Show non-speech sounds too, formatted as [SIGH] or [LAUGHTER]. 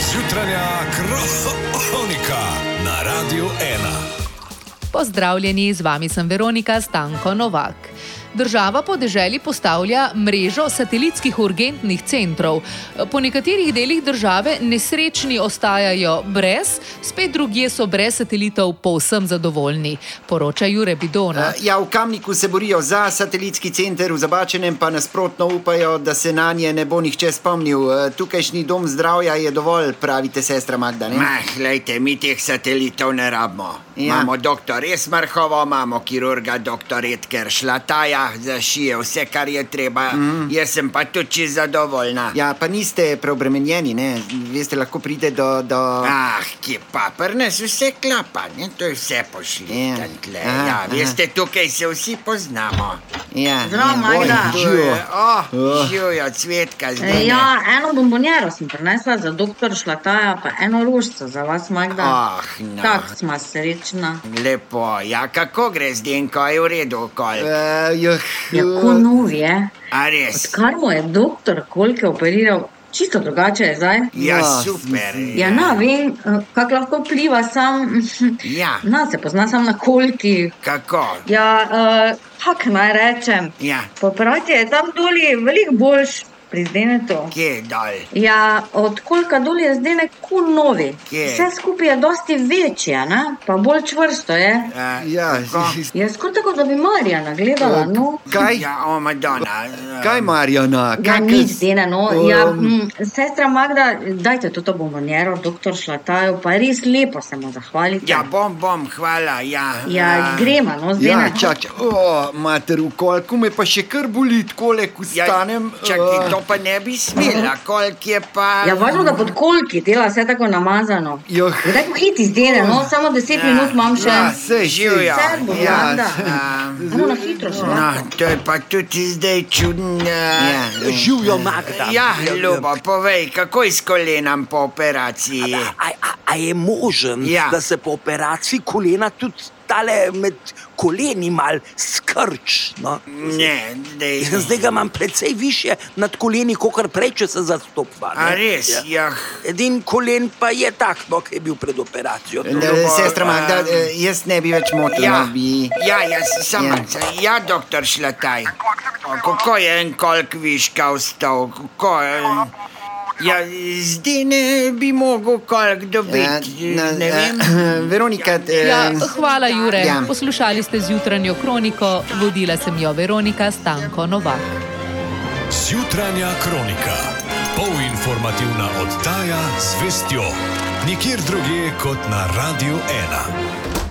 Jutranja kronika na Radiu 1. Pozdravljeni, z vami sem Veronika Stanko Novak. Država po deželi postavlja mrežo satelitskih urgentnih centrov. Po nekaterih delih države nesrečni ostajajo brez, spet drugje so brez satelitov povsem zadovoljni, poroča Jure Bidona. Ja, v Kamniku se borijo za satelitski center, v Zabačenem pa nasprotno upajo, da se na nje ne bo nihče spomnil. Eh, Tukajšnji dom zdravja je dovolj, pravite sestra Magda. Ne? Mah, lejte, mi teh satelitov ne rabimo. Ja. Ja. Imamo doktor Esmarhovo, imamo kirurga doktor Edker Šlataja, zašije vse, kar je treba. Mm. Jaz sem pa tudi čisto zadovoljna. Ja, pa niste preobremenjeni, ne? veste, lahko pride do. do... Ja, Ah, ki pa prnes vse klapa, ne? to je vse pošli. Ja. Ja. Aha, Ja, aha. veste, tukaj se vsi poznamo. Ja, Zelo ja. malo. Oj, Ja. živo. Oh, živijo cvetka E, zdaj. Ja, eno bombonjero sem prinesla za doktor Šlataja, pa eno rožico za vas, Magda. Ah, no. Tako smo srečna. Lepo, ja, kako gre zdaj, ko je v redu, kol. Eh, juh, Ja, Je kunov Ja, je, A res? kar mu je doktor Kolke operiral, čisto drugače je zdaj. Ja, Ja, super. Ja, na, vem, kako lahko pliva sam, [LAUGHS] Ja, na, se pozna sam na kolki. kako? Ja, uh, kako naj rečem, Ja, popraviti je tam dolje veliko boljš pri zdenetu. kje je dol? Ja, od kolika dol je zdaj neko novi. Kje? Vse skupaj je dosti večje, ne? pa bolj čvrsto je. Eh, Ja, kako? Jaz skoraj tako, da bi Marija nagledala. No. kaj, Ja, o, Madonna. eh, kaj Marjana? Ja, nič zdene, no. Ja, Um. mm, sestra Magda, dajte to bombonjero, no, doktor Šlatajo, pa res lepo se mu zahvalite. Ja, bom, bom, hvala. Ja, ja gremo, no, zdaj Ja, čakaj, o, mater, v kolku me pa še kar boli, tako le, ko Ja, stanem. Čakaj, eh, to pa ne bi smela, koliko je pa. Ja, važno, da pod kolki dela vse tako namazano. Juh. Je tako hiti zdene, no, samo 10 minut imam še. Ja, sej, sej. živijo. Servo, Magda. ja. Samo na hitro še. No, to je pa tudi zdaj čudno. Ja, Živijo Magda. ja ljubo, povej, kako je s kolenom po operaciji? A, a, a je možen, Ja. ja. da se po operaciji kolena tudi tale med koleni mal skrč. No? Ne, zdaj. Zdaj ga imam precej više nad koleni, kot prej, če se zastopva. ne. A res, Ja. jah. Edin kolen pa je tak, no, ki je bil pred operacijo. Ne, Ljubo, Sestra Magda, em, eh, jaz ne bi več motil. Ja, no, bi... ja, jaz sem Ja. ja. ja, doktor Šlataj. O, Kako je en kolk viška vstal? Kako je? Ja, zdaj ne bi mogel kolk dobiti. Ja, Ja, na- ne vem. eh, [CLEARS THROAT] Veronika, eh, Ja, hvala, Jure. Ja. Poslušali ste zjutranjo kroniko, vodila sem jo Veronika Stanko Novak. Jutranja kronika. Polinformativna oddaja z vestjo. Nikjer drugje kot na Radiu 1.